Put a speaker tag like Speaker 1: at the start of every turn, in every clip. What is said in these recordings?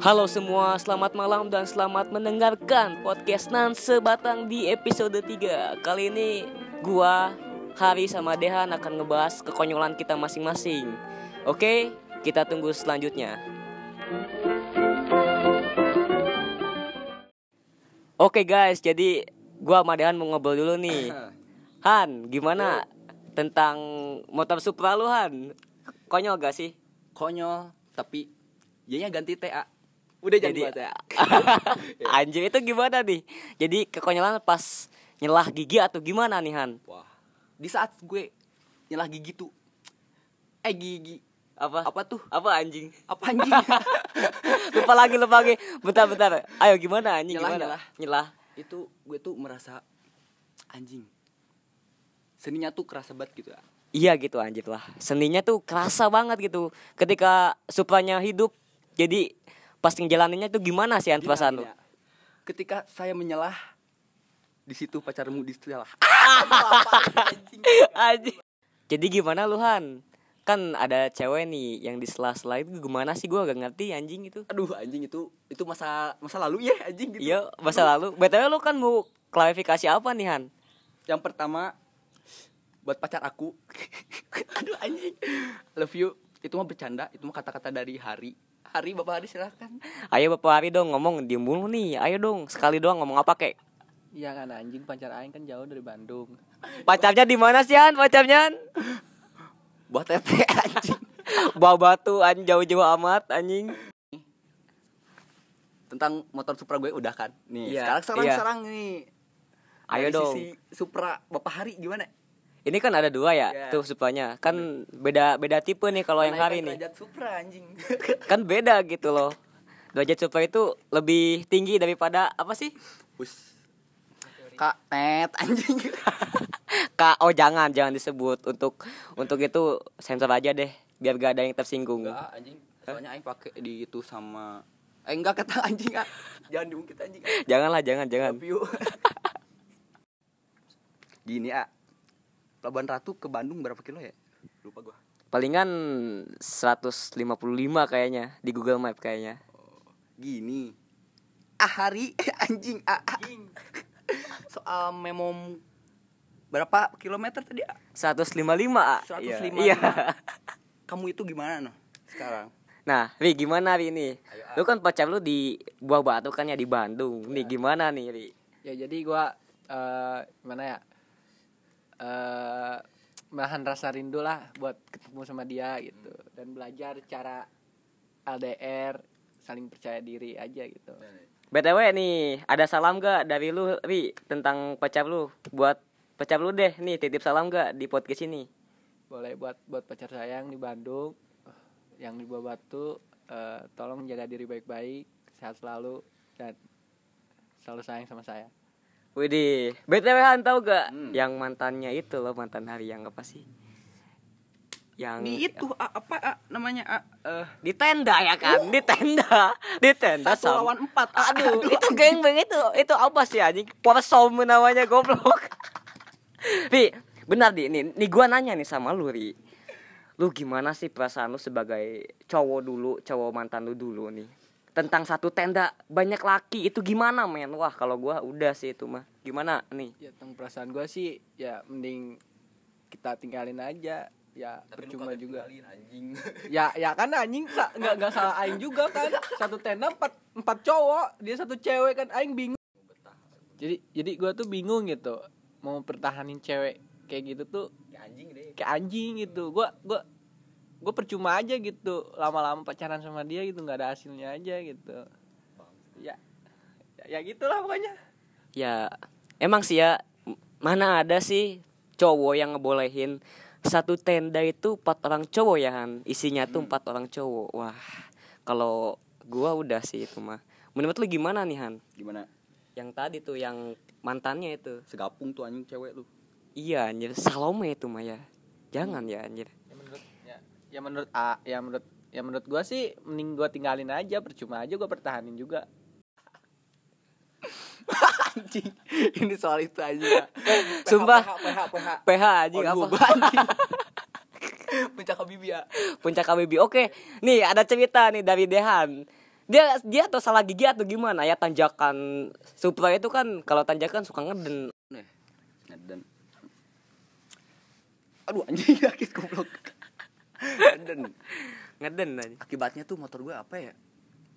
Speaker 1: Halo semua, selamat malam dan selamat mendengarkan podcast Nan Sebatang di episode 3 Kali ini gua, Hari sama Dehan akan ngebahas kekonyolan kita masing-masing Oke, kita tunggu selanjutnya Oke guys, jadi gua sama Dehan mau ngobrol dulu nih Han, gimana tentang motor Supra lu Han? Konyol gak sih?
Speaker 2: konyol tapi jadinya ganti TA udah
Speaker 1: Jadi- ya?
Speaker 2: jadi buat TA Iya.
Speaker 1: Anjir itu gimana nih? Jadi kekonyolan pas nyelah gigi atau gimana nih Han?
Speaker 2: wah di saat gue nyelah gigi tuh eh gigi
Speaker 1: Apa?
Speaker 2: apa tuh
Speaker 1: Apa anjing?
Speaker 2: apa anjing
Speaker 1: lupa lagi lupa lagi. Bentar bentar. Ayo gimana anjing
Speaker 2: Nyelah,
Speaker 1: gimana?
Speaker 2: nyelah. itu gue tuh merasa anjing seninya tuh kerasa banget gitu ya
Speaker 1: Iya gitu anjir lah. Seninya tuh kerasa banget gitu. Ketika supranya hidup jadi pas ngejalaninnya tuh gimana sih Han perasaan lu?
Speaker 2: Gila, gila. Iya. ketika saya menyelah di situ pacarmu diselah
Speaker 1: Anjing. Jadi gimana lu Han? Kan ada cewek nih yang di sela-sela itu gimana sih gua gak ngerti anjing gitu. itu.
Speaker 2: aduh anjing itu itu masa masa lalu ya anjing gitu
Speaker 1: Iya, masa lalu. BTW lu kan mau klarifikasi apa nih Han?
Speaker 2: Yang pertama buat pacar aku. Aduh anjing. Love you. Itu mah bercanda, itu mah kata-kata dari Hari. Hari Bapak Hari silahkan
Speaker 1: Ayo Bapak Hari dong ngomong diem mulu nih. Ayo dong sekali doang ngomong apa kek?
Speaker 3: Iya kan anjing pancar aing kan jauh dari Bandung.
Speaker 1: Pacarnya di mana sih Han? Pacarnya? Han?
Speaker 2: Buat tete anjing.
Speaker 1: Bawa batu an jauh-jauh amat anjing.
Speaker 2: Tentang motor Supra gue udah kan. Nih,
Speaker 1: Iya,
Speaker 2: sekarang serang
Speaker 1: iya.
Speaker 2: serang nih.
Speaker 1: Ayo
Speaker 2: Dari
Speaker 1: dong.
Speaker 2: Sisi Supra Bapak Hari gimana?
Speaker 1: Ini kan ada dua ya
Speaker 2: Iya.
Speaker 1: tuh suplanya. Kan beda beda tipe nih kalau Oh, yang
Speaker 2: Naikkan
Speaker 1: hari nih.
Speaker 2: derajat Supra anjing.
Speaker 1: Kan beda gitu loh. Derajat supra itu lebih tinggi daripada apa sih?
Speaker 2: Us. Kak net anjing.
Speaker 1: Ka oh jangan jangan disebut untuk untuk itu sensor aja deh biar gak ada yang tersinggung.
Speaker 2: Enggak anjing. Soalnya aing pakai di itu sama Eh enggak kata anjing ah. Jangan diungkit anjing. ah.
Speaker 1: Janganlah jangan jangan.
Speaker 2: Love you. Gini ah Labuan Ratu ke Bandung berapa kilo ya? Lupa gua.
Speaker 1: Palingan 155 kayaknya di Google Map kayaknya.
Speaker 2: Oh, Gini. Ah hari anjing ah, ah. Soal memom berapa kilometer tadi? Ah?
Speaker 1: 155 A.
Speaker 2: 155.
Speaker 1: Iya.
Speaker 2: Kamu itu gimana noh sekarang?
Speaker 1: Nah, Ri gimana Ri ini?
Speaker 2: Ayo, ah.
Speaker 1: Lu kan pacar lu di Buah Batu kan ya di Bandung. Nih
Speaker 2: Iya.
Speaker 1: gimana nih Ri?
Speaker 3: Ya jadi gua eh gimana ya? Eh menahan rasa rindu lah buat ketemu sama dia gitu dan belajar cara LDR saling percaya diri aja gitu.
Speaker 1: BTW nih, ada salam gak dari lu Ri tentang pacar lu? Buat pacar lu deh nih titip salam gak di podcast ini?
Speaker 3: Boleh buat buat pacar saya yang di Bandung yang di Buah Batu eh, tolong jaga diri baik-baik, sehat selalu dan selalu sayang sama saya.
Speaker 1: Widih, BTW Han tau gak
Speaker 2: Hmm.
Speaker 1: yang mantannya itu loh, mantan hari yang apa sih? Yang
Speaker 2: Di itu Ah, apa Ah, namanya Ah, eh,
Speaker 1: di tenda ya kan di tenda di tenda
Speaker 2: Oh. satu
Speaker 1: Sam.
Speaker 2: lawan empat Ah,
Speaker 1: aduh, itu geng bang itu itu apa sih anjing porsom namanya goblok Ri benar di nih nih gua nanya nih sama lu Ri lu gimana sih perasaan lu sebagai cowok dulu cowok mantan lu dulu nih tentang satu tenda banyak laki itu gimana men wah kalau gua udah sih itu mah gimana nih
Speaker 3: ya tentang perasaan gue sih ya mending kita tinggalin aja ya
Speaker 2: Tapi lu
Speaker 3: percuma
Speaker 2: kagak
Speaker 3: juga
Speaker 2: tinggalin, anjing.
Speaker 3: ya ya kan anjing sa- nggak nggak salah aing juga kan satu tenda empat empat cowok dia satu cewek kan aing bingung jadi jadi gue tuh bingung gitu mau pertahanin cewek kayak gitu tuh
Speaker 2: Ya, anjing deh.
Speaker 3: kayak anjing gitu gue gua gue percuma aja gitu lama-lama pacaran sama dia gitu nggak ada hasilnya aja gitu ya ya gitulah pokoknya
Speaker 1: ya emang sih ya m- mana ada sih cowok yang ngebolehin satu tenda itu empat orang cowok ya Han isinya tuh empat orang cowok wah kalau gua udah sih itu mah menurut lu gimana nih Han
Speaker 2: Gimana?
Speaker 1: yang tadi tuh yang mantannya itu
Speaker 2: Segapung tuh anjing cewek lu.
Speaker 1: iya anjir Salome itu mah ya jangan ya anjir
Speaker 3: ya menurut ya, ya menurut A, ya menurut ya menurut gua sih mending gua tinggalin aja percuma aja gua pertahanin juga
Speaker 2: anjing ini soal itu aja
Speaker 1: Sumpah.
Speaker 2: PH PH PH
Speaker 1: PH anjing
Speaker 2: Oh,
Speaker 1: apa
Speaker 2: puncak ya. bibi ya
Speaker 1: puncak KBB oke nih ada cerita nih dari Dehan dia dia atau salah gigi atau gimana ya tanjakan Supra itu kan kalau tanjakan suka ngeden
Speaker 2: Nih, ngeden. Aduh anjing sakit goblok. Ngeden.
Speaker 1: ngeden aja.
Speaker 2: Akibatnya tuh motor gue apa ya?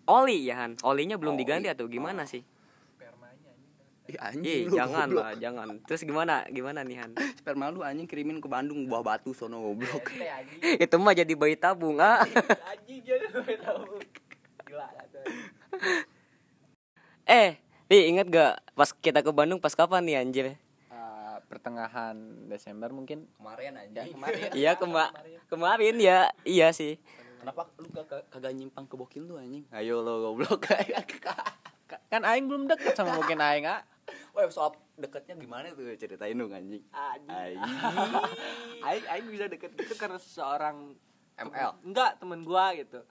Speaker 1: oli ya Han olinya belum
Speaker 2: Oli.
Speaker 1: diganti atau gimana sih
Speaker 2: Ih anjing
Speaker 1: Ih,
Speaker 2: lu
Speaker 1: jangan
Speaker 2: goblok.
Speaker 1: lah jangan terus gimana gimana nih Han
Speaker 2: Sperma lu anjing kirimin ke Bandung buah batu sono goblok.
Speaker 1: itu mah jadi bayi tabung ah
Speaker 3: Anjing dia udah tahu. Gila kata.
Speaker 1: eh Ih, ingat gak pas kita ke Bandung pas kapan nih anjir
Speaker 3: Eh, pertengahan Desember mungkin
Speaker 2: Kemarin
Speaker 3: ya
Speaker 2: anjing.
Speaker 3: kemarin.
Speaker 1: iya kema kemarin ya iya sih
Speaker 2: Kenapa lu kagak kagak nyimpang ke bokin lu anjing? Ayo lo goblok.
Speaker 3: kan aing belum deket sama mungkin aing ah.
Speaker 2: Wah, soal deketnya gimana tuh ceritain dong anjing.
Speaker 3: Anjing.
Speaker 2: Anjing.
Speaker 3: Aing aing bisa deket itu karena seorang
Speaker 2: ML.
Speaker 3: Enggak, temen gua gitu.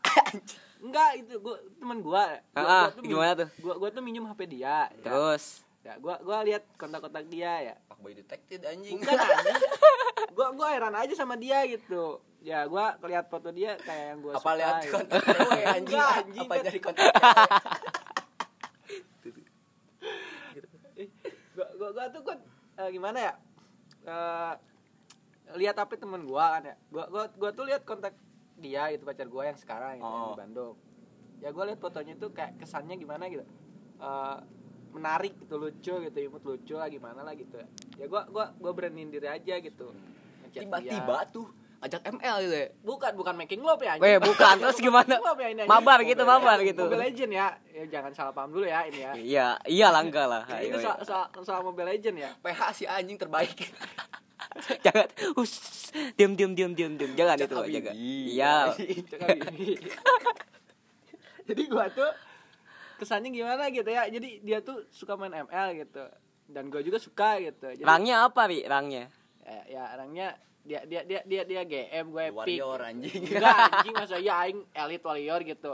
Speaker 3: Enggak, itu gua temen gua. Gua-
Speaker 1: Ah, ah,
Speaker 3: gua
Speaker 1: gimana tuh?
Speaker 3: Gua gua tuh minjem HP dia. ya.
Speaker 1: terus
Speaker 3: Ya, gua gua lihat kontak-kontak dia ya.
Speaker 2: Pak boy detected anjing.
Speaker 3: Bukan anjing. gua gua heran aja sama dia gitu. Ya, gua lihat foto dia kayak yang gua
Speaker 2: apa lihat
Speaker 3: gitu.
Speaker 2: kontak cewek anjing,
Speaker 3: Enggak, anjing,
Speaker 2: apa
Speaker 3: kan.
Speaker 2: jadi kontak
Speaker 3: Ih, gua, gua, gua tuh gua eh, gimana ya? Eh lihat HP temen gua kan ya. Gua gua, gua tuh lihat kontak dia gitu pacar gua yang sekarang gitu, yang
Speaker 2: Oh.
Speaker 3: di Bandung. Ya gua lihat fotonya tuh kayak kesannya gimana gitu. Eh menarik gitu lucu gitu imut lucu lah gimana lah gitu ya gua gua gua beraniin diri aja gitu Ngechat
Speaker 2: tiba-tiba
Speaker 3: dia.
Speaker 2: tuh ajak ML gitu ya
Speaker 3: bukan bukan making love ya anjing.
Speaker 1: Weh, bukan. Terus gimana?
Speaker 3: Making love ya, ini anjing.
Speaker 1: Mabar gitu,
Speaker 3: Mobile-
Speaker 1: mabar gitu.
Speaker 3: Mobile Legend ya. ya jangan salah paham dulu ya ini ya
Speaker 1: iya iya lah enggak lah Ayo,
Speaker 3: ini soal,
Speaker 1: ayo.
Speaker 3: soal, soal Mobile Legend ya
Speaker 2: PH si anjing terbaik
Speaker 1: jangan Hus, diam diam diam diam diam jangan
Speaker 2: Cak
Speaker 1: itu Pak,
Speaker 2: Habibie.
Speaker 1: jaga iya
Speaker 3: Cakap ini. jadi gua tuh kesannya gimana gitu ya jadi dia tuh suka main ML gitu dan gua juga suka gitu jadi
Speaker 1: rangnya apa ri rangnya
Speaker 3: ya, ya orangnya dia dia dia dia dia GM gue epic
Speaker 2: warrior anjing
Speaker 3: enggak anjing masa iya aing elite warrior gitu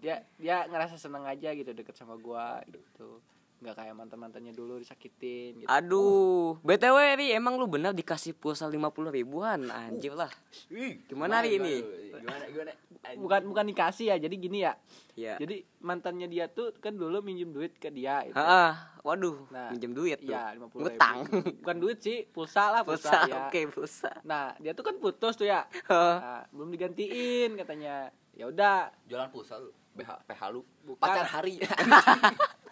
Speaker 3: dia dia ngerasa seneng aja gitu deket sama gua gitu nggak kayak mantan mantannya dulu disakitin gitu.
Speaker 1: aduh btw ri emang lu benar dikasih pulsa lima puluh ribuan anjir lah
Speaker 2: Ih,
Speaker 1: Gimana, Ri, ini?
Speaker 2: gimana gimana Anjing.
Speaker 3: bukan bukan dikasih ya jadi gini ya
Speaker 1: Iya.
Speaker 3: jadi mantannya dia tuh kan dulu minjem duit ke dia gitu.
Speaker 1: Ah, waduh, minjem duit tuh.
Speaker 3: Iya, 50.000.
Speaker 1: Ngutang.
Speaker 3: Bukan duit sih, pulsa lah,
Speaker 1: Pulsa,
Speaker 3: pulsa. ya.
Speaker 1: oke pulsa.
Speaker 3: Nah, dia tuh kan putus tuh ya.
Speaker 1: Heeh.
Speaker 3: Nah, belum digantiin katanya. Ya udah,
Speaker 2: jualan pulsa lu PH PH lu
Speaker 3: Bukan.
Speaker 2: pacar hari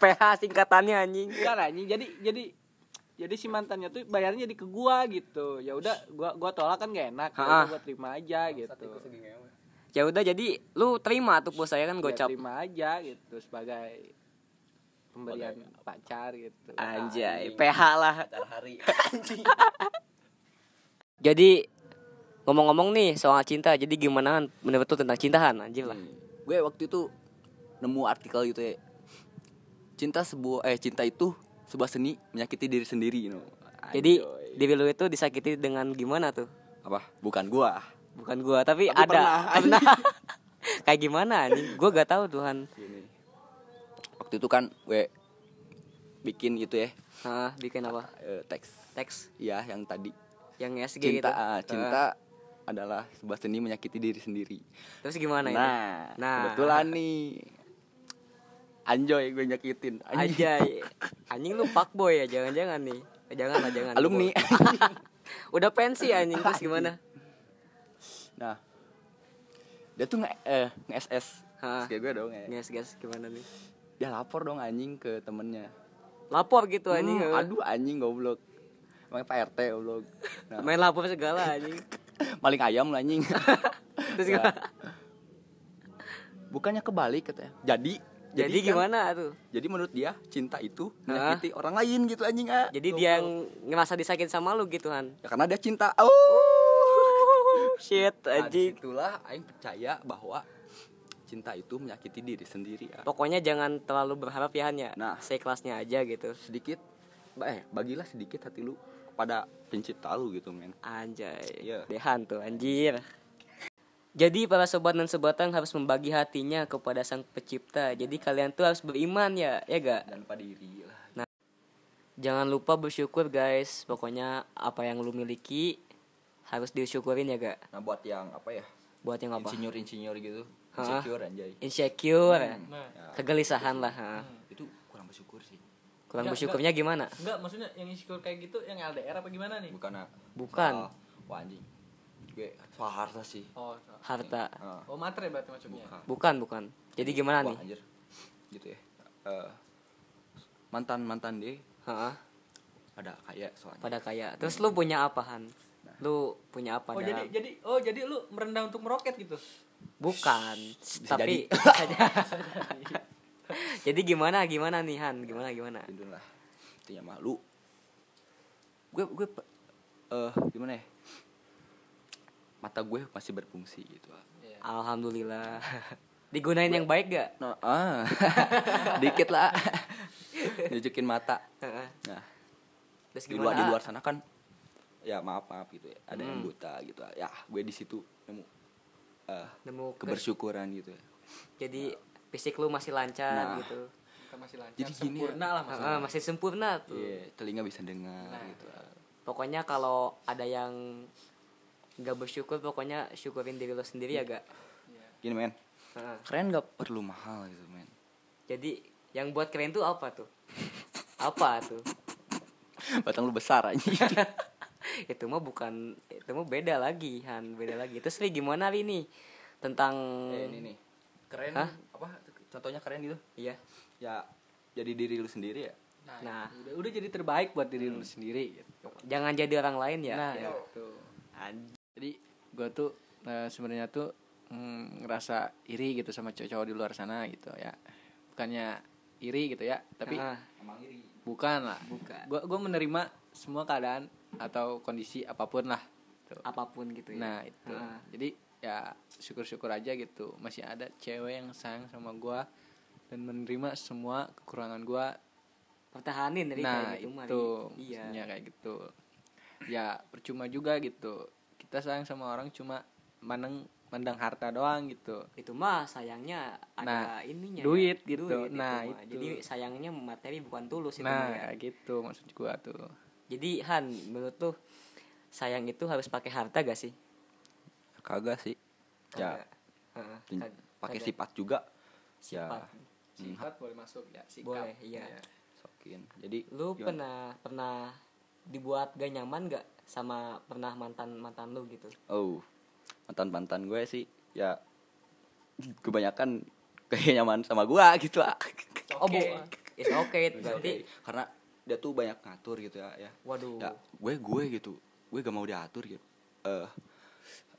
Speaker 1: PH singkatannya anjing.
Speaker 3: enggak lah, anjing. Jadi jadi jadi si mantannya tuh bayarnya jadi ke gua gitu. Ya udah, gua gua tolak kan gak enak. Ya
Speaker 1: Heeh.
Speaker 3: udah, gua terima aja gitu.
Speaker 1: Ya udah jadi lu terima tuh pulsa kan
Speaker 3: Gua
Speaker 1: gocap.
Speaker 3: Iya, Ya, terima aja gitu sebagai pemberian pacar gitu.
Speaker 1: Anjay,
Speaker 2: Anjing.
Speaker 1: PH lah.
Speaker 2: pacar hari anjing
Speaker 1: Jadi ngomong-ngomong nih soal cinta, jadi gimana Han? menurut lu tentang cintaan anjir lah.
Speaker 2: gue waktu itu nemu artikel gitu ya cinta sebuah eh cinta itu sebuah seni menyakiti diri sendiri you know.
Speaker 1: Jadi
Speaker 2: Anjay.
Speaker 1: diri lu itu disakiti dengan gimana tuh?
Speaker 2: apa bukan gua
Speaker 1: Bukan gua, tapi,
Speaker 2: Tapi
Speaker 1: ada.
Speaker 2: pernah.
Speaker 1: Kayak gimana anjing? Gua gak tahu Tuhan.
Speaker 2: Gini. waktu itu kan gue bikin gitu ya
Speaker 1: Heeh, bikin apa?
Speaker 2: eh, teks
Speaker 1: Teks
Speaker 2: ya yang tadi
Speaker 1: yang SG gitu.
Speaker 2: cinta ah,
Speaker 1: Heeh.
Speaker 2: cinta adalah sebuah seni menyakiti diri sendiri
Speaker 1: Terus gimana itu?
Speaker 2: nah,
Speaker 1: Nah.
Speaker 2: kebetulan nih anjoy gue nyakitin anjing.
Speaker 1: aja anjing lu pak boy ya jangan-jangan nih Eh, jangan lah jangan
Speaker 2: alumni
Speaker 1: udah pensi anjing terus gimana
Speaker 2: nah dia tuh nge, eh, nge SS
Speaker 1: Hah.
Speaker 2: Terus kayak gue dong ya.
Speaker 1: guys guys gimana nih
Speaker 2: dia lapor dong anjing ke temennya
Speaker 1: lapor gitu anjing eh.
Speaker 2: Hmm, aduh anjing goblok emang Pak RT goblok nah,
Speaker 1: main lapor segala anjing
Speaker 2: maling ayam lah anjing
Speaker 1: terus
Speaker 2: Ya.
Speaker 1: gimana?
Speaker 2: bukannya kebalik katanya jadi
Speaker 1: jadi,
Speaker 2: kan-
Speaker 1: gimana tuh
Speaker 2: jadi menurut dia cinta itu
Speaker 1: Hah?
Speaker 2: menyakiti orang lain gitu anjing ah
Speaker 1: jadi
Speaker 2: Goblok.
Speaker 1: dia yang ngerasa disakitin sama lu gitu kan
Speaker 2: ya, karena dia cinta oh
Speaker 1: shit anjing
Speaker 2: itulah aing percaya bahwa cinta itu menyakiti diri sendiri ah.
Speaker 1: pokoknya jangan terlalu berharap ya Han ya
Speaker 2: Nah.
Speaker 1: seikhlasnya aja gitu
Speaker 2: sedikit ba- eh bagilah sedikit hati lu kepada pencipta lu gitu men
Speaker 1: Anjay,
Speaker 2: Iya.
Speaker 1: dehan tuh anjir. Jadi para sobat dan sebatang harus membagi hatinya kepada sang pencipta. Jadi kalian tuh harus beriman ya, ya gak?
Speaker 2: dan pada diri lah
Speaker 1: Jangan lupa bersyukur guys. Pokoknya apa yang lu miliki harus disyukurin ya gak?
Speaker 2: nah buat yang apa ya
Speaker 1: Buat yang apa?
Speaker 2: insinyur insinyur gitu insecure anjay Hmm. Ya.
Speaker 1: insecure
Speaker 4: Nah,
Speaker 1: kegelisahan lah ha.
Speaker 2: itu kurang bersyukur sih
Speaker 1: kurang
Speaker 4: Enggak,
Speaker 1: bersyukurnya gimana
Speaker 4: enggak maksudnya yang insecure kayak gitu yang LDR apa gimana nih?
Speaker 2: bukan ah.
Speaker 1: Bukan.
Speaker 2: Ah, wah anjing gue soal harta sih
Speaker 4: Oh,
Speaker 1: harta
Speaker 2: Ah,
Speaker 4: oh matre berarti maksudnya.
Speaker 2: bukan
Speaker 1: bukan bukan jadi gimana
Speaker 2: Wah,
Speaker 1: Iya. nih
Speaker 2: anjir. gitu ya mantan mantan dia
Speaker 1: Ha,
Speaker 2: ada kayak soalnya
Speaker 1: pada kaya terus lu punya apa han lu punya apa
Speaker 4: Oh, jadi
Speaker 1: dalam
Speaker 4: jadi oh jadi lu merendah untuk meroket gitu.
Speaker 1: bukan tapi jadi gimana gimana nih han gimana gimana
Speaker 2: Itu lah intinya malu gue gue pe- eh gimana ya mata gue masih berfungsi gitu ah.
Speaker 1: alhamdulillah digunain yang baik gak
Speaker 2: no, ah dikit lah nunjukin mata
Speaker 1: Heeh.
Speaker 2: nah
Speaker 1: terus
Speaker 2: di luar di
Speaker 1: gimana?
Speaker 2: luar sana kan ya maaf maaf gitu ya ada yang
Speaker 1: Hmm.
Speaker 2: buta gitu ah. ya gue di situ nemu eh,
Speaker 1: nemu ke-
Speaker 2: kebersyukuran gitu ya
Speaker 1: jadi fisik lu masih lancar
Speaker 2: Nah.
Speaker 1: gitu
Speaker 4: Kita masih lancar.
Speaker 2: Jadi gini ya.
Speaker 4: sempurna lah maksudnya.
Speaker 1: Ah, masih sempurna tuh
Speaker 2: Iya, telinga bisa dengar
Speaker 4: Nah.
Speaker 2: gitu ah.
Speaker 1: pokoknya kalau ada yang nggak bersyukur pokoknya syukurin diri lo sendiri ya gak
Speaker 4: Iya.
Speaker 2: gini men
Speaker 1: Heeh.
Speaker 2: keren gak perlu mahal gitu men
Speaker 1: jadi yang buat keren tuh apa tuh apa tuh
Speaker 2: batang lu besar aja
Speaker 1: Iya. itu mah bukan itu mah beda lagi Han beda lagi terus Ri gimana Ri nih tentang
Speaker 2: Eh, ini nih keren
Speaker 1: Hah?
Speaker 2: apa contohnya keren gitu
Speaker 1: iya
Speaker 2: ya jadi diri lu sendiri ya
Speaker 4: Nah,
Speaker 1: Nah.
Speaker 4: udah, udah jadi terbaik buat diri lu.
Speaker 3: Diri lu sendiri gitu.
Speaker 1: jangan jadi orang lain ya
Speaker 3: Nah,
Speaker 1: Ya.
Speaker 3: gitu.
Speaker 1: Anj-
Speaker 3: Jadi gue tuh eh, sebenarnya tuh mm, ngerasa iri gitu sama cowok-cowok di luar sana gitu ya. Bukannya iri gitu ya, tapi
Speaker 1: Ah,
Speaker 2: emang iri
Speaker 3: bukan lah.
Speaker 1: Bukan.
Speaker 3: Gue gue menerima semua keadaan atau kondisi apapun lah. Tuh.
Speaker 1: apapun gitu ya
Speaker 3: Nah itu.
Speaker 1: Ah.
Speaker 3: Jadi ya syukur-syukur aja gitu. Masih ada cewek yang sayang sama gua dan menerima semua kekurangan gua
Speaker 1: pertahanin Ri
Speaker 3: nah
Speaker 1: kayak gitu mah, Ri.
Speaker 3: itu
Speaker 1: iya
Speaker 3: maksudnya kayak gitu ya percuma juga gitu kita sayang sama orang cuma mandang mandang harta doang gitu
Speaker 1: itu mah sayangnya ada
Speaker 3: Nah,
Speaker 1: ininya
Speaker 3: duit
Speaker 1: ya.
Speaker 3: gitu.
Speaker 1: Duit
Speaker 3: Nah,
Speaker 1: mah.
Speaker 3: itu.
Speaker 1: jadi sayangnya materi bukan tulus itu
Speaker 3: nah
Speaker 1: mah ya.
Speaker 3: kayak gitu maksud gua tuh
Speaker 1: jadi Han menurut tuh sayang itu harus pakai harta gak sih
Speaker 2: kagak sih ya
Speaker 1: Heeh,
Speaker 2: tin-
Speaker 1: kag-
Speaker 2: pakai
Speaker 1: kagak.
Speaker 2: sifat juga ya
Speaker 1: Sifat.
Speaker 3: sifat boleh masuk ya sikap
Speaker 1: boleh iya
Speaker 2: sokin jadi
Speaker 1: lu
Speaker 2: gimana?
Speaker 1: pernah pernah dibuat gak nyaman gak sama pernah mantan mantan lu gitu
Speaker 2: oh mantan mantan gue sih ya kebanyakan kayak nyaman sama gue gitu lah
Speaker 1: oh bu it's okay berarti
Speaker 2: karena dia tuh banyak ngatur gitu ya ya
Speaker 1: waduh
Speaker 2: ya gue gue gitu gue gak mau diatur gitu eh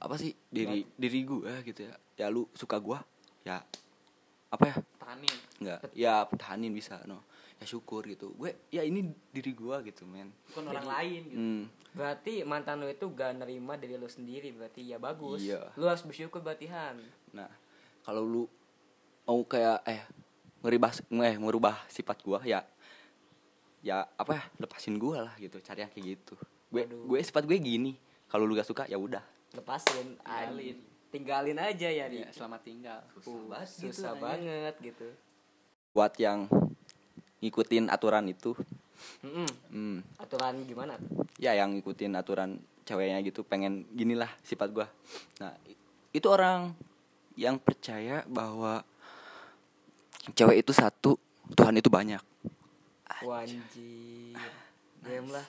Speaker 2: apa sih diri diri gue gitu ya ya lu suka gue ya apa ya
Speaker 4: Tahanin.
Speaker 2: nggak ya pertahanin bisa no ya syukur gitu gue ya ini diri gue gitu men
Speaker 4: Bukan orang lain gitu.
Speaker 2: hmm.
Speaker 1: berarti mantan lu itu gak nerima diri lu sendiri berarti ya bagus
Speaker 2: Iya.
Speaker 1: lu harus bersyukur berarti Han
Speaker 2: nah kalau lu mau kayak eh ngerubah eh merubah sifat gue ya ya apa ya lepasin gue lah gitu cari yang kayak gitu gue
Speaker 1: Waduh.
Speaker 2: gue sifat gue gini kalau lu gak suka ya udah
Speaker 1: lepasin an-
Speaker 4: Tinggalin. Iya,
Speaker 1: tinggalin aja ya Ri.
Speaker 3: ya selamat tinggal
Speaker 1: Uh,
Speaker 2: banget gitu,
Speaker 1: susah
Speaker 2: anjing.
Speaker 1: banget gitu
Speaker 2: buat yang ngikutin aturan itu
Speaker 1: Mm-mm.
Speaker 2: hmm,
Speaker 1: aturan gimana tuh?
Speaker 2: ya yang ngikutin aturan ceweknya gitu pengen ginilah sifat gua nah i- itu orang yang percaya bahwa cewek itu satu Tuhan itu banyak
Speaker 1: Wanjir Diam lah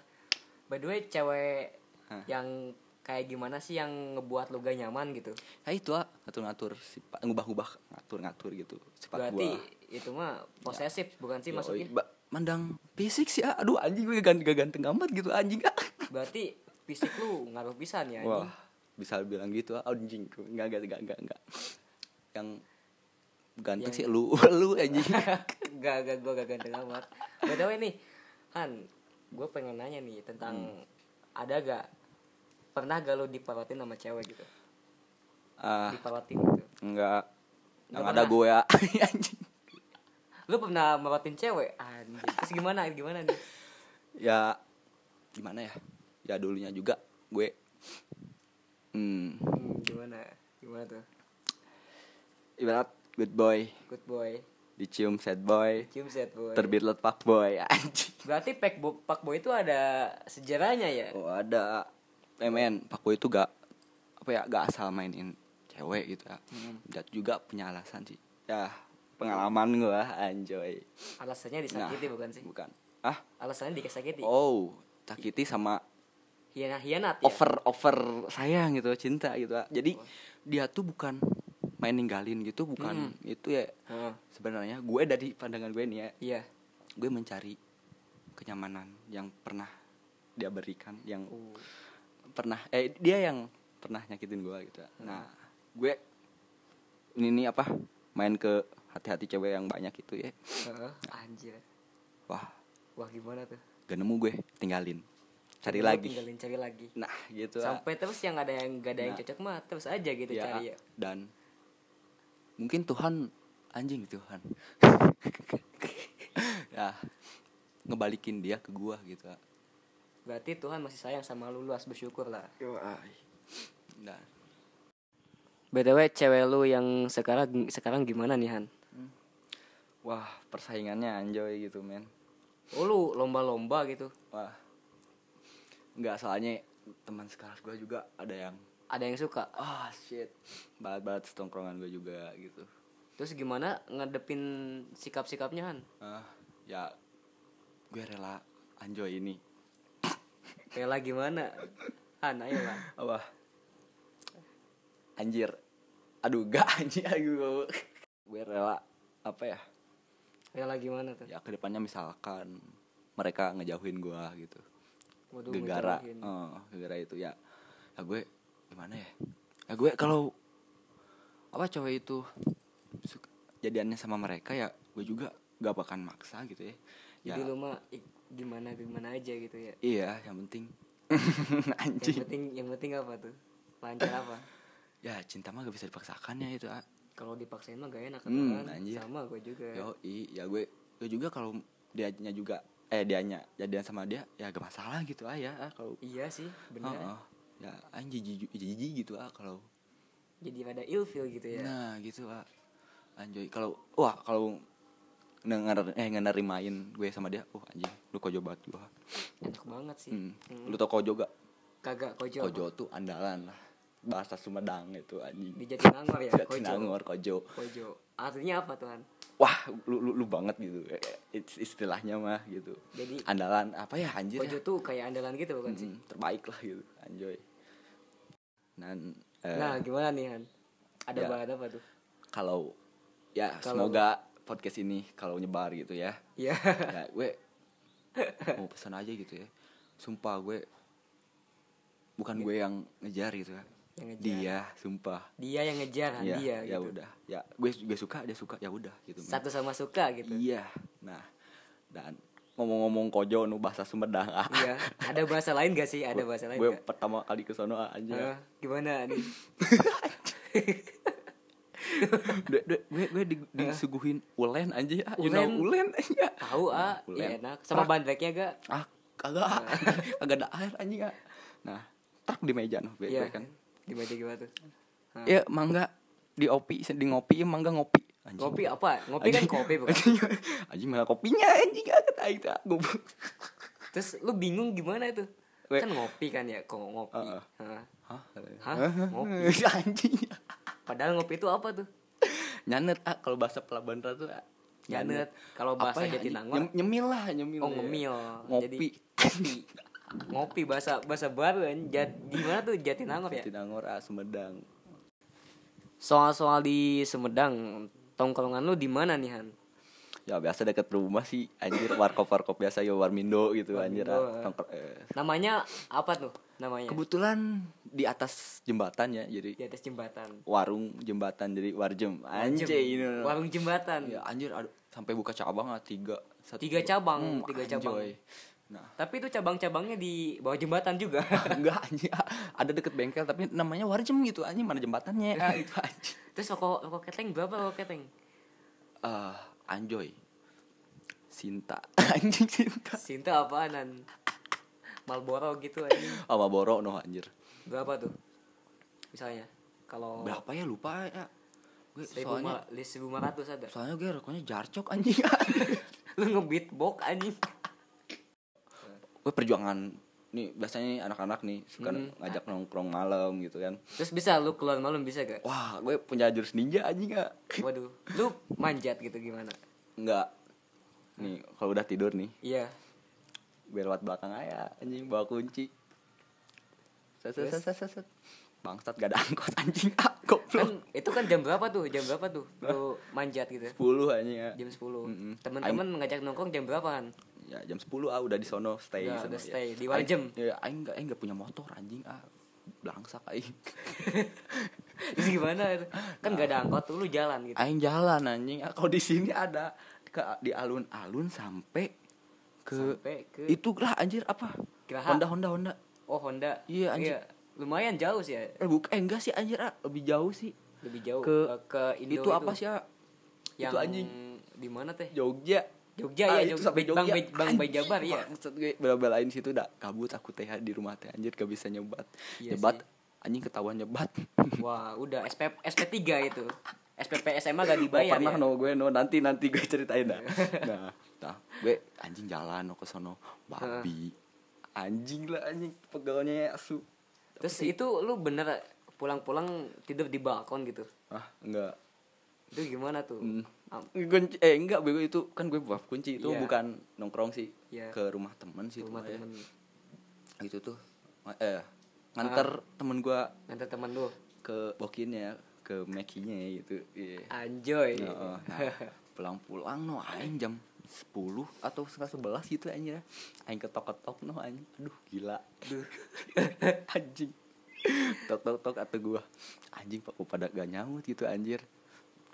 Speaker 1: By the way cewek
Speaker 2: Hah?
Speaker 1: yang kayak gimana sih yang ngebuat lu gak nyaman gitu
Speaker 2: nah itu ah ngatur ngatur sifat ngubah-ngubah ngatur ngatur gitu sifat
Speaker 1: Berarti ya?
Speaker 2: gua Ya.
Speaker 1: itu mah posesif bukan sih
Speaker 2: Yoi,
Speaker 1: maksudnya
Speaker 2: ba- mandang fisik sih ah. aduh anjing gue ganteng ganteng amat gitu anjing ah.
Speaker 1: Berarti fisik lu ngaruh pisan ya
Speaker 2: Wah,
Speaker 1: anjing
Speaker 2: bisa bilang gitu ah anjing. Enggak enggak enggak enggak enggak. Yang ganteng
Speaker 1: Yang-
Speaker 2: sih lu, lu anjing.
Speaker 1: Gak gak gue gak ganteng amat By the way nih Han Gue pengen nanya nih tentang
Speaker 2: Hmm.
Speaker 1: Ada gak Pernah gak lu diparotin sama cewek gitu
Speaker 2: Ah,
Speaker 1: Diparotin gitu
Speaker 2: enggak. Yang
Speaker 1: Enggak
Speaker 2: ada
Speaker 1: pernah.
Speaker 2: gue ya anjing.
Speaker 1: Lu pernah merotin cewek anjing Terus gimana gimana nih
Speaker 2: Ya gimana ya? Ya dulunya juga gue hmm,
Speaker 1: Hmm, Gimana Gimana tuh
Speaker 2: ibarat good boy,
Speaker 1: Good boy
Speaker 2: dicium sad boy,
Speaker 1: Cium set boy
Speaker 2: terbitlet fuck boy anjing.
Speaker 1: Berarti Pak Bo Pak Boy itu ada sejarahnya ya?
Speaker 2: Oh, ada. Eh, men, fuck boy itu gak apa ya, gak asal mainin cewek gitu ya dan juga punya alasan sih ya pengalaman gua anjoy Nah,
Speaker 1: Alasannya disakiti bukan sih?
Speaker 2: bukan ah
Speaker 1: Alasannya disakiti.
Speaker 2: oh sakiti sama
Speaker 1: Hianat, hianat ya.
Speaker 2: over over sayang gitu cinta gitu ah. jadi dia tuh bukan main ninggalin gitu bukan itu ya
Speaker 1: Heeh.
Speaker 2: sebenarnya gue dari pandangan gue nih ya
Speaker 1: Iya.
Speaker 2: gue mencari kenyamanan yang pernah dia berikan yang
Speaker 1: Oh. Uh,
Speaker 2: pernah eh dia yang pernah nyakitin gue gitu
Speaker 1: Hmm.
Speaker 2: nah gue ini nih apa main ke hati-hati cewek yang banyak itu ya
Speaker 1: Heeh. Anjir.
Speaker 2: wah
Speaker 1: Wah gimana tuh?
Speaker 2: gak nemu gue tinggalin cari
Speaker 1: Lu
Speaker 2: lagi
Speaker 1: Tinggalin cari lagi.
Speaker 2: nah gitu ah.
Speaker 1: Sampai terus yang ada yang gak ada yang
Speaker 2: Nah.
Speaker 1: cocok mah terus aja gitu
Speaker 2: Ya,
Speaker 1: cari ya.
Speaker 2: dan mungkin Tuhan anjing Tuhan ya ngebalikin dia ke gua gitu ah.
Speaker 1: Berarti Tuhan masih sayang sama lu, lu harus bersyukur lah.
Speaker 2: nah
Speaker 1: BTW cewek lu yang sekarang sekarang gimana nih Han?
Speaker 2: Wah, persaingannya anjoy gitu, men.
Speaker 1: Oh lu lomba-lomba gitu.
Speaker 2: Wah. Enggak, soalnya teman sekelas gue juga ada yang
Speaker 1: Ada yang suka.
Speaker 2: ah shit, balat-balat setongkrongan gue juga gitu.
Speaker 1: Terus gimana ngedepin sikap-sikapnya Han?
Speaker 2: Ah, ya gue rela anjoy ini.
Speaker 1: Rela gimana? Han ayo lah.
Speaker 2: Wah. Anjir. Aduh, gak anjir gue. gue rela apa ya?
Speaker 1: Rela gimana tuh?
Speaker 2: Ya kedepannya misalkan mereka ngejauhin gue gitu.
Speaker 1: Waduh,
Speaker 2: gegara
Speaker 1: ngejauhin.
Speaker 2: eh, gegara itu ya ya gue gimana ya ya gue kalau apa cowok itu suka- jadiannya sama mereka ya gue juga gak bakalan maksa gitu ya ya
Speaker 1: Jadi lu mah i- gimana gimana aja gitu ya.
Speaker 2: iya yang penting
Speaker 1: Yang
Speaker 2: anjing
Speaker 1: penting yang penting apa tuh? Lancar apa?
Speaker 2: ya cinta mah gak bisa dipaksakan ya itu ah.
Speaker 1: Kalau dipaksain mah gak enak kan?
Speaker 2: Hmm, anjir.
Speaker 1: Sama gue juga.
Speaker 2: yo ya gue gue juga kalau dianya juga eh dianya jadian sama dia ya gak masalah gitu ah ya ah, kalau
Speaker 1: Iya sih, bener.
Speaker 2: Heeh. ya anjing jijik jijik gitu ah kalau
Speaker 1: Jadi rada ilfeel gitu ya.
Speaker 2: Nah gitu pak Anjoy kalau wah kalau denger eh ngenerimain gue sama dia uh anjing lu kojo banget gua
Speaker 1: Enak banget sih.
Speaker 2: Hmm. lu tau kojo gak
Speaker 1: Kagak kojo.
Speaker 2: kojo tuh andalan lah bahasa Sumedang itu anjing
Speaker 1: Di Jatinangor ya, kojo.
Speaker 2: Jatinangor kojo
Speaker 1: Kojo. Artinya apa tuhan?
Speaker 2: wah lu, lu, lu banget gitu eh, it's- istilahnya mah gitu
Speaker 1: Jadi-
Speaker 2: andalan apa ya anjir
Speaker 1: Kojo
Speaker 2: ya?
Speaker 1: tuh kayak andalan gitu bukan sih?
Speaker 2: Mm, terbaik lah gitu anjoy dan eh,
Speaker 1: Nah gimana nih Han? Ada
Speaker 2: Ya.
Speaker 1: bahan apa tuh?
Speaker 2: kalau ya
Speaker 1: Kalau-
Speaker 2: semoga podcast ini kalau nyebar gitu ya
Speaker 1: Iya.
Speaker 2: ya gue mau pesan aja gitu ya sumpah gue bukan gue yang ngejar gitu ya
Speaker 1: Yang ngejar.
Speaker 2: dia sumpah
Speaker 1: Dia yang ngejar Han
Speaker 2: ya
Speaker 1: dia
Speaker 2: ya
Speaker 1: gitu.
Speaker 2: udah ya gue juga suka dia suka ya udah gitu men.
Speaker 1: Satu sama suka gitu.
Speaker 2: iya nah dan ngomong-ngomong kojo nu bahasa Sumedang ah.
Speaker 1: Iya. Ada bahasa lain gak sih? Ada bahasa lain
Speaker 2: gue
Speaker 1: gak?
Speaker 2: pertama kali ke sono ah,
Speaker 1: Hah?
Speaker 2: aja
Speaker 1: gimana nih?
Speaker 2: gue gue, gue di- disuguhin ulen aja ah. you know
Speaker 1: Ulen?
Speaker 2: ulen aja
Speaker 1: Tahu ah,
Speaker 2: Ulen.
Speaker 1: iya enak. Sama bandreknya gak?
Speaker 2: ah kagak ah. kagak ada air anjing ah. nah tak di meja noh gue
Speaker 1: Iya
Speaker 2: gue kan
Speaker 1: Di meja gimana tuh? Hah.
Speaker 2: ya mangga di opi di ngopi ya mangga ngopi anjing.
Speaker 1: Kopi apa? Ngopi kan
Speaker 2: Anjing.
Speaker 1: kopi bukan?
Speaker 2: anjing, anjing malah kopinya anjing ah kata itu ah, goblok
Speaker 1: Terus lu bingung gimana itu?
Speaker 2: Weh.
Speaker 1: Kan ngopi kan ya, kok ngopi.
Speaker 2: Heeh.
Speaker 1: Hah.
Speaker 2: hah
Speaker 1: Hah? Ngopi.
Speaker 2: anjing
Speaker 1: Padahal ngopi itu apa tuh?
Speaker 2: nyanet ah kalau bahasa pelabuhan ratu ah.
Speaker 1: Nyanet. Kalau
Speaker 2: Apa
Speaker 1: bahasa
Speaker 2: ya, anjing?
Speaker 1: Jatinangor.
Speaker 2: Nyem- nyemil lah nyemil
Speaker 1: Oh
Speaker 2: ya.
Speaker 1: ngemil.
Speaker 2: ngopi
Speaker 1: Jadi, ngopi bahasa bahasa baru kan. Jat, di mana tuh Jatinangor ya?
Speaker 2: Jatinangor ah Sumedang
Speaker 1: Soal-soal di Sumedang, tongkrongan lu di mana nih Han?
Speaker 2: ya biasa deket rumah sih anjir warkop warkop biasa ya warmindo gitu anjir ah.
Speaker 1: Warmindo, ah.
Speaker 2: Tongkro- eh,
Speaker 1: Namanya apa tuh? Namanya?
Speaker 2: Kebetulan di atas jembatan ya,
Speaker 1: Di
Speaker 2: jadi
Speaker 1: atas jembatan.
Speaker 2: warung jembatan jadi warjem. Anjay ini.
Speaker 1: Warung jembatan.
Speaker 2: Ya anjir aduh, sampai buka cabang ah tiga. Satu-
Speaker 1: Tiga cabang,
Speaker 2: Hmm,
Speaker 1: tiga cabang.
Speaker 2: anjoy. Nah,
Speaker 1: Tapi itu cabang-cabangnya di bawah jembatan juga.
Speaker 2: enggak anjir ada deket bengkel tapi namanya warjem gitu anjing mana jembatannya
Speaker 1: Ya,
Speaker 2: ah,
Speaker 1: gitu,
Speaker 2: itu anjing.
Speaker 1: Terus rokok rokok keteng berapa rokok keteng?
Speaker 2: Eh, anjoy. Sinta. Anjing Sinta.
Speaker 1: Sinta apaan Han? Malboro gitu aja.
Speaker 2: Sama Boro noh anjir.
Speaker 1: Berapa tuh? Misalnya kalau
Speaker 2: Berapa ya lupa ya. Gue
Speaker 1: Oh. seribu
Speaker 2: soalnya
Speaker 1: ma- li- seribu lima ratus ada.
Speaker 2: soalnya gue rokoknya jarcok anjing.
Speaker 1: Lu ngebeatbox anjing.
Speaker 2: gue perjuangan nih biasanya nih anak-anak nih suka
Speaker 1: Hmm.
Speaker 2: ngajak nongkrong malam gitu kan
Speaker 1: Terus bisa lu keluar malam bisa gak?
Speaker 2: wah gue punya jurus ninja anjing gak
Speaker 1: Waduh, lu manjat gitu gimana?
Speaker 2: nggak nih kalau udah tidur nih
Speaker 1: Iya.
Speaker 2: gue lewat belakang aja anjing bawa kunci set set set set, set, set. bangsat gak ada angkot anjing ah goblok
Speaker 1: Kan itu kan jam berapa tuh? Jam berapa tuh? Lu manjat gitu. ya?
Speaker 2: 10 anjing ya
Speaker 1: Jam 10.
Speaker 2: Mm-mm.
Speaker 1: Temen-temen ngajak nongkrong jam berapaan?
Speaker 2: ya jam 10 ah udah di sono stay
Speaker 1: Udah,
Speaker 2: sono,
Speaker 1: udah stay.
Speaker 2: ya.
Speaker 1: Di Warjem.
Speaker 2: Aing- ya aing enggak aing enggak punya motor anjing ah belangsak aing
Speaker 1: Terus gimana itu? Kan gak ada angkot tuh lu jalan gitu.
Speaker 2: aing jalan anjing ah kalau di sini ada ke di alun-alun sampai ke,
Speaker 1: Sampai ke-
Speaker 2: itu lah anjir apa
Speaker 1: Geraha.
Speaker 2: Honda Honda Honda
Speaker 1: Oh, Honda.
Speaker 2: Iya, anjing.
Speaker 1: Lumayan jauh sih ya.
Speaker 2: eh, bukan eh, enggak sih anjir ah lebih jauh sih
Speaker 1: Lebih jauh
Speaker 2: Ke-
Speaker 1: eh, ke Indo
Speaker 2: itu apa sih ah
Speaker 1: Yang
Speaker 2: itu anjing
Speaker 1: di mana teh?
Speaker 2: Jogja
Speaker 1: Jogja
Speaker 2: Ah,
Speaker 1: ya,
Speaker 2: itu
Speaker 1: Jogja.
Speaker 2: sampai
Speaker 1: Bang
Speaker 2: Jogja.
Speaker 1: Bang Bang Jabar
Speaker 2: Anjing,
Speaker 1: ya.
Speaker 2: maksud gue bela-belain situ dah kabut aku teh di rumah teh anjir gak bisa nyebat
Speaker 1: Iya
Speaker 2: nyebat anjing ketahuan nyebat
Speaker 1: Wah, udah SP SP3 itu. SPP SMA gak
Speaker 2: Gak
Speaker 1: dibayar
Speaker 2: Oh, pernah
Speaker 1: ya.
Speaker 2: no gue no nanti nanti gue ceritain dah nah, nah gue anjing jalan no ke sono babi anjing lah anjing pegalnya asu
Speaker 1: Terus itu lu bener pulang-pulang tidur di balkon gitu.
Speaker 2: ah enggak
Speaker 1: Itu gimana tuh?
Speaker 2: Hmm.
Speaker 1: Am-
Speaker 2: Kunci- eh enggak bego itu kan gue buat kunci itu
Speaker 1: Iya.
Speaker 2: bukan nongkrong sih
Speaker 1: Iya.
Speaker 2: ke rumah temen sih
Speaker 1: Rumah
Speaker 2: itu mah ya.
Speaker 1: temen
Speaker 2: itu Gitu tuh eh nganter temen gue
Speaker 1: nanti temen lu.
Speaker 2: ke bokinnya ke mekinya gitu iya
Speaker 1: Anjoy.
Speaker 2: Heeh, nah, pulang-pulang no aing jam 10 atau setengah 11 gitu anjir aing ketok-ketok no anjing aduh gila aduh anjing tok tok tok atau gua anjing pak gua pada gak nyaut gitu anjir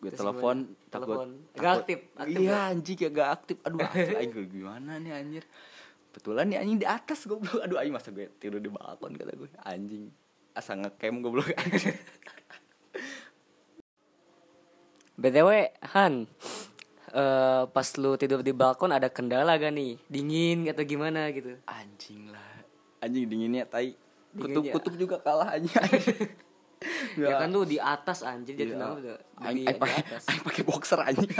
Speaker 2: gue
Speaker 1: Terus
Speaker 2: telepon
Speaker 1: gimana?
Speaker 2: takut-
Speaker 1: Telepon. Gak
Speaker 2: takut-
Speaker 1: aktif, aktif
Speaker 2: iya
Speaker 1: gak?
Speaker 2: anjing ya gak aktif aduh asli aing gua gimana nih anjir betulan nih anjing di atas goblok aduh aing masa gue tidur di balkon kata gue anjing asa ngecam goblok anjing
Speaker 1: BTW Han eh, pas lu tidur di balkon ada kendala gak nih? Dingin atau gimana gitu?
Speaker 2: anjing lah anjing dinginnya tai
Speaker 1: Dingin
Speaker 2: kutub
Speaker 1: ya.
Speaker 2: kutub juga kalah anjing
Speaker 1: Ya kan lu di atas anjir jadi kenapa udah di, di
Speaker 2: Iya. Aing aing pakai
Speaker 1: atas.
Speaker 2: aing pakai boxer anjing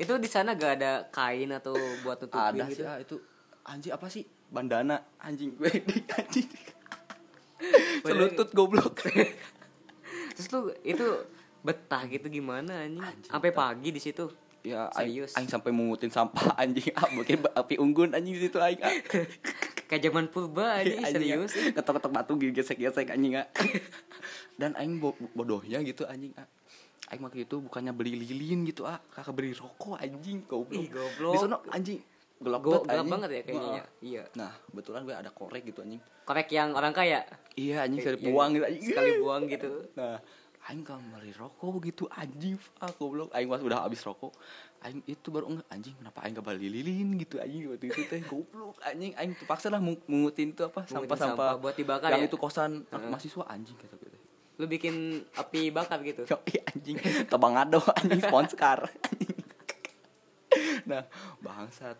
Speaker 1: Itu di sana gak ada kain atau buat tutupin
Speaker 2: ada
Speaker 1: gitu.
Speaker 2: sih ah, itu anjing apa sih bandana anjing gue di- anjing selutut goblok
Speaker 1: Terus lu itu betah gitu gimana anjing? Sampai pagi di situ.
Speaker 2: ya aing,
Speaker 1: Serius.
Speaker 2: aing sampai mengutin sampah anjing ah mungkin api unggun anjing di situ aing ah.
Speaker 1: Kayak zaman purba
Speaker 2: Iya,
Speaker 1: anjing serius.
Speaker 2: ketok-ketok batu gesek-gesek anjing ah. dan aing bo- bodohnya gitu anjing ah. aing waktu itu bukannya beli lilin gitu ah kakak beli rokok anjing goblok
Speaker 1: Ih, goblok.
Speaker 2: di sono anjing gelap
Speaker 1: Go-
Speaker 2: banget,
Speaker 1: gelap
Speaker 2: anjing.
Speaker 1: banget ya kayaknya ya?
Speaker 2: Heeh.
Speaker 1: Iya.
Speaker 2: nah kebetulan gue ada korek gitu anjing
Speaker 1: Korek yang orang kaya.
Speaker 2: iya anjing sekali
Speaker 1: Iya,
Speaker 2: buang gitu anjing
Speaker 1: Sekali buang gitu.
Speaker 2: nah aing kan beli rokok begitu anjing ah goblok aing pas udah habis rokok aing itu baru enggak anjing kenapa aing gak beli lilin gitu anjing waktu itu teh goblok anjing aing terpaksa lah mung- mungutin tuh apa
Speaker 1: Mungutin
Speaker 2: sampah-sampah
Speaker 1: sampah buat dibakar
Speaker 2: yang
Speaker 1: ya?
Speaker 2: itu kosan anak mahasiswa anjing kata gue teh.
Speaker 1: Lu bikin api bakar gitu.
Speaker 2: Yoi, anjing tebang ado anjing sponsor anjing. nah bangsat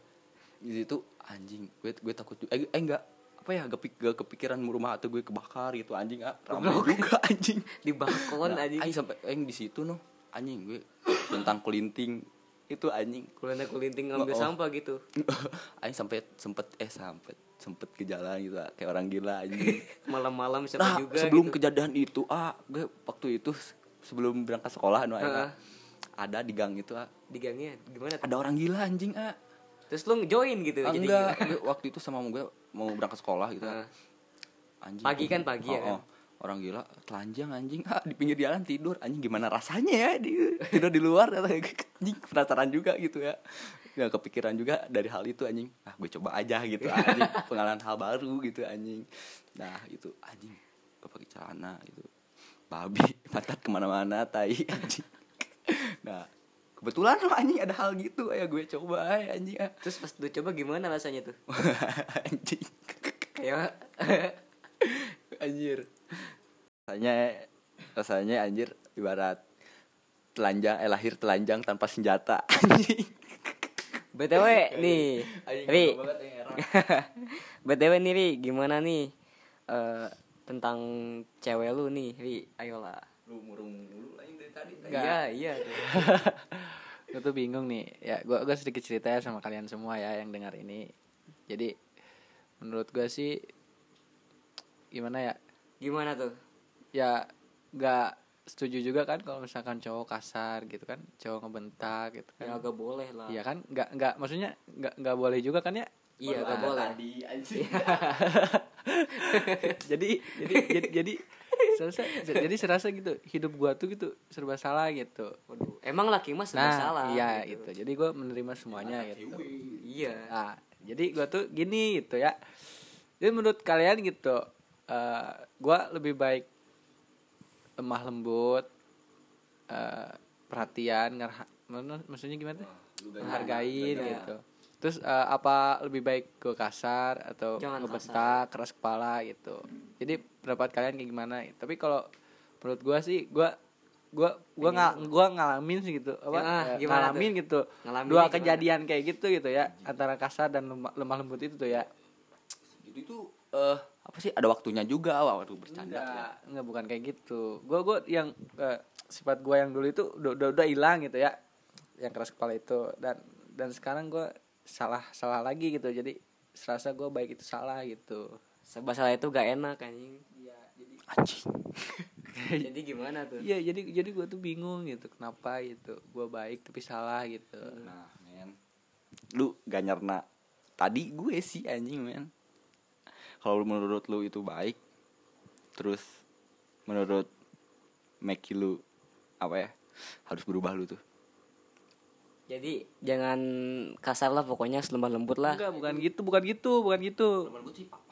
Speaker 2: di situ anjing gue gue takut juga eh, eh enggak apa ya gak, pik- gak kepikiran rumah atau gue kebakar gitu anjing ah ramai juga anjing
Speaker 1: Di balkon
Speaker 2: Nah,
Speaker 1: anjing.
Speaker 2: aing sampai aing di situ noh anjing gue tentang kelinting itu anjing
Speaker 1: Kulana kulinting ngambil
Speaker 2: Oh, oh.
Speaker 1: sampah gitu.
Speaker 2: aing sampai sempet eh sempet sempet ke jalan gitu ah, kayak orang gila anjing
Speaker 1: Malam-malam siapa
Speaker 2: nah
Speaker 1: juga
Speaker 2: sebelum
Speaker 1: gitu.
Speaker 2: kejadian itu ah gue waktu itu s- sebelum berangkat sekolah no, aing,
Speaker 1: Heeh.
Speaker 2: ah, ada di gang itu ah,
Speaker 1: di gangnya gimana tuh?
Speaker 2: ada orang gila anjing ah
Speaker 1: Terus lu join gitu
Speaker 2: Ah,
Speaker 1: jadi
Speaker 2: enggak gue waktu itu sama gue mau berangkat sekolah gitu ah.
Speaker 1: Heeh.
Speaker 2: anjing
Speaker 1: Pagi kan, pagi ya
Speaker 2: Oh,
Speaker 1: kan?
Speaker 2: oh. orang gila telanjang anjing ah, di pinggir jalan tidur anjing gimana rasanya ya di- tidur di luar gitu. anjing penasaran juga gitu ya nggak kepikiran juga dari hal itu anjing ah gue coba aja gitu anjing pengalaman hal baru gitu anjing nah itu anjing gue pakai celana itu babi pantat kemana-mana tai anjing nah kebetulan loh anjing ada hal gitu ya gue coba ay, anjing ah.
Speaker 1: Terus pas lu coba gimana rasanya tuh?
Speaker 2: anjing
Speaker 1: Kayak
Speaker 2: anjir rasanya rasanya anjir ibarat telanjang eh lahir telanjang tanpa senjata anjing
Speaker 1: BTW Eh, nih. Ri. BTW nih Ri, gimana nih? eh, tentang cewek lu nih, Ri. Ayolah.
Speaker 2: lu murung mulu aing dari tadi tai.
Speaker 1: Iya, iya.
Speaker 3: gue tuh bingung nih ya gue gue sedikit cerita ya sama kalian semua ya yang dengar ini jadi menurut gue sih gimana ya
Speaker 1: Gimana tuh?
Speaker 3: ya gak setuju juga kan kalau misalkan cowok kasar gitu kan cowok ngebentak gitu kan
Speaker 1: Ya agak boleh lah.
Speaker 3: iya kan nggak nggak maksudnya nggak nggak boleh juga kan ya
Speaker 1: Iya, agak boleh.
Speaker 3: jadi jadi jadi, jadi serasa jadi serasa gitu hidup gua tuh gitu serba salah gitu
Speaker 1: Waduh, emang laki mas serba salah.
Speaker 3: iya gitu. jadi gua menerima semuanya gitu
Speaker 1: Iya.
Speaker 3: Nah, jadi gua tuh gini gitu ya. Jadi menurut kalian gitu, eh, gua lebih baik lemah lembut, eh, perhatian, ngerha- mana- maksudnya gimana? Menghargain gitu. Terus eh, apa lebih baik gua kasar atau
Speaker 1: Jangan
Speaker 3: ngebentak, keras kepala gitu. Jadi pendapat kalian kayak gimana? Tapi kalau menurut gua sih gua gua gua ngal- gua ngalamin sih gitu
Speaker 1: Ya,
Speaker 3: apa eh,
Speaker 1: gimana tuh?
Speaker 3: ngalamin gitu
Speaker 1: Ngalaminnya
Speaker 3: dua
Speaker 1: gimana? Iya.
Speaker 3: kejadian kayak gitu gitu ya antara kasar dan lemah, lemah lembut itu tuh
Speaker 1: Iya.
Speaker 3: ya
Speaker 2: Itu itu eh apa sih ada waktunya juga awal waktu bercanda.
Speaker 3: enggak
Speaker 1: ya.
Speaker 3: enggak bukan kayak gitu gue gue yang eh, sifat gue yang dulu itu udah udah, udah hilang gitu ya yang keras kepala itu dan dan sekarang gue salah salah lagi gitu jadi serasa gue baik itu salah gitu
Speaker 1: Serba salah itu gak enak anjing.
Speaker 2: Anjing.
Speaker 1: Jadi gimana tuh?
Speaker 3: iya jadi jadi gue tuh bingung gitu kenapa gitu gue baik tapi salah gitu
Speaker 1: Iya.
Speaker 2: Nah, men. Lu gak nyerna tadi gue sih anjing, men. Kalau menurut lu itu baik, terus menurut Meki lu apa ya? Harus berubah lu tuh.
Speaker 1: Jadi jangan kasar lah pokoknya selemah lembut lah.
Speaker 3: enggak bukan gitu bukan gitu bukan gitu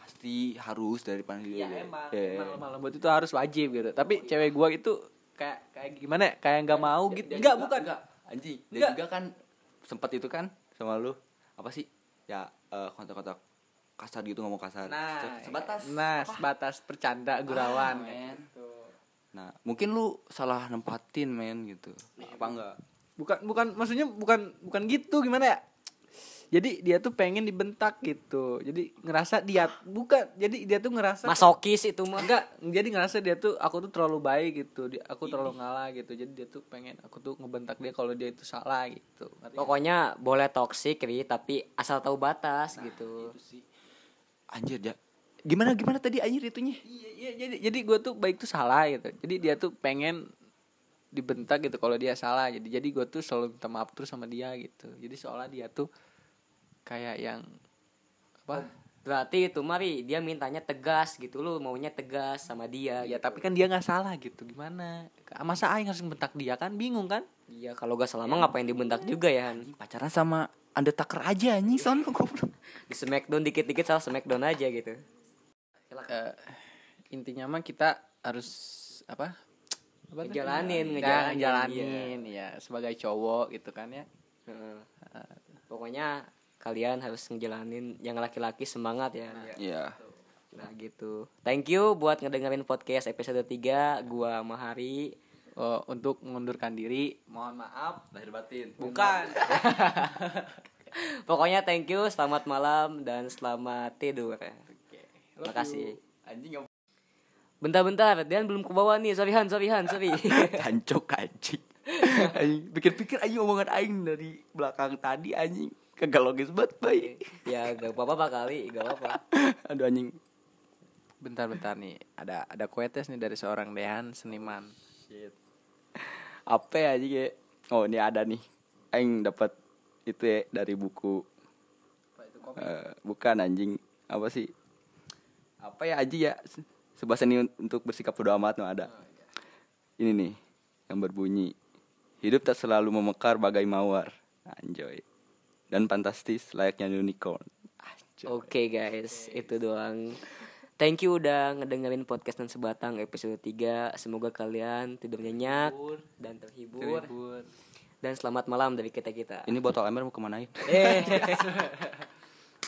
Speaker 2: Pasti harus dari pan
Speaker 3: Iya emang, emang lemah lembut itu harus wajib gitu. Tapi cewek gua itu kayak kayak gimana? ya? Kayak nggak mau gitu. Enggak, bukan.
Speaker 2: enggak. Anjing, dia
Speaker 3: Enggak.
Speaker 2: juga kan sempat itu kan sama lu. Apa sih? Ya eh, kontak-kontak kasar gitu ngomong kasar. Se- sebatas.
Speaker 3: Nah, sebatas bercanda gurauan.
Speaker 2: Ah, men. Nah, mungkin lu salah nempatin men gitu.
Speaker 3: Iya.
Speaker 2: Apa enggak?
Speaker 3: bukan bukan maksudnya bukan bukan gitu gimana ya? Jadi dia tuh pengen dibentak gitu. Jadi ngerasa dia bukan. Jadi dia tuh ngerasa
Speaker 1: Masokis itu mah.
Speaker 3: enggak jadi ngerasa dia tuh aku tuh terlalu baik gitu dia, aku terlalu ngalah gitu jadi dia tuh pengen aku tuh ngebentak dia kalau dia itu salah gitu Ngerti
Speaker 1: Oh,
Speaker 3: nggak?
Speaker 1: Pokoknya boleh toksik Ri, tapi asal tahu batas
Speaker 3: Nah.
Speaker 1: gitu.
Speaker 2: Anjir, ya. Gimana gimana tadi anjir itunya?
Speaker 3: Iya, iya, jadi jadi gue tuh baik tuh salah gitu. Jadi dia tuh pengen dibentak gitu kalau dia salah. Jadi jadi gue tuh selalu minta maaf terus sama dia gitu. Jadi seolah dia tuh kayak yang apa?
Speaker 1: Berarti itu mari dia mintanya tegas gitu lu maunya tegas sama dia.
Speaker 3: ya
Speaker 2: Iya,
Speaker 1: gitu.
Speaker 3: tapi kan dia nggak salah gitu. Gimana? Masa Aing harus bentak dia kan? Bingung kan?
Speaker 1: Iya kalau gak salah mah ngapain dibentak juga ya. Han?
Speaker 2: Anjing, Pacaran sama Undertaker aja anjing sono goblok.
Speaker 1: Di smackdown dikit-dikit salah smackdown aja gitu.
Speaker 3: Eh, intinya mah kita harus apa? Apa tuh?
Speaker 1: Ngejalanin, ngejalanin,
Speaker 3: Nah, ngejalanin, ya sebagai cowok gitu kan ya.
Speaker 1: Heeh. Pokoknya kalian harus ngejalanin yang laki-laki semangat ya.
Speaker 2: Iya.
Speaker 1: Nah gitu. Thank you buat ngedengerin podcast episode 3 gua Mahari.
Speaker 3: Eh, untuk mengundurkan diri, mohon maaf
Speaker 2: Lahir batin.
Speaker 3: bukan
Speaker 1: Pokoknya thank you, selamat malam dan selamat tidur. ya. Makasih.
Speaker 2: Anjing enggak
Speaker 1: Bentar-bentar, Dian belum ke bawah nih. Sorry Han, sorry Han, sorry.
Speaker 2: Kancok anjing. Anjing, pikir-pikir anjing omongan aing dari belakang tadi anjing. Kagak logis banget, baik.
Speaker 1: ya gak apa-apa Pak, kali, gak apa-apa.
Speaker 2: Aduh anjing.
Speaker 3: Bentar-bentar nih, ada ada kue tes nih dari seorang Dehan seniman.
Speaker 2: apa ya aja kayak oh ini ada nih aing dapat itu ya dari buku Eh, bukan anjing apa sih apa ya aja ya se- sebuah seni un- untuk bersikap bodoh amat no ada ini nih yang berbunyi hidup tak selalu memekar bagai mawar anjoy dan fantastis layaknya unicorn anjoy
Speaker 1: Oke guys, itu doang. Thank you udah ngedengerin podcast dan sebatang episode 3. Semoga kalian tidur nyenyak dan terhibur. Dan selamat malam dari kita-kita.
Speaker 2: ini botol ember mau kemanain
Speaker 1: Eh.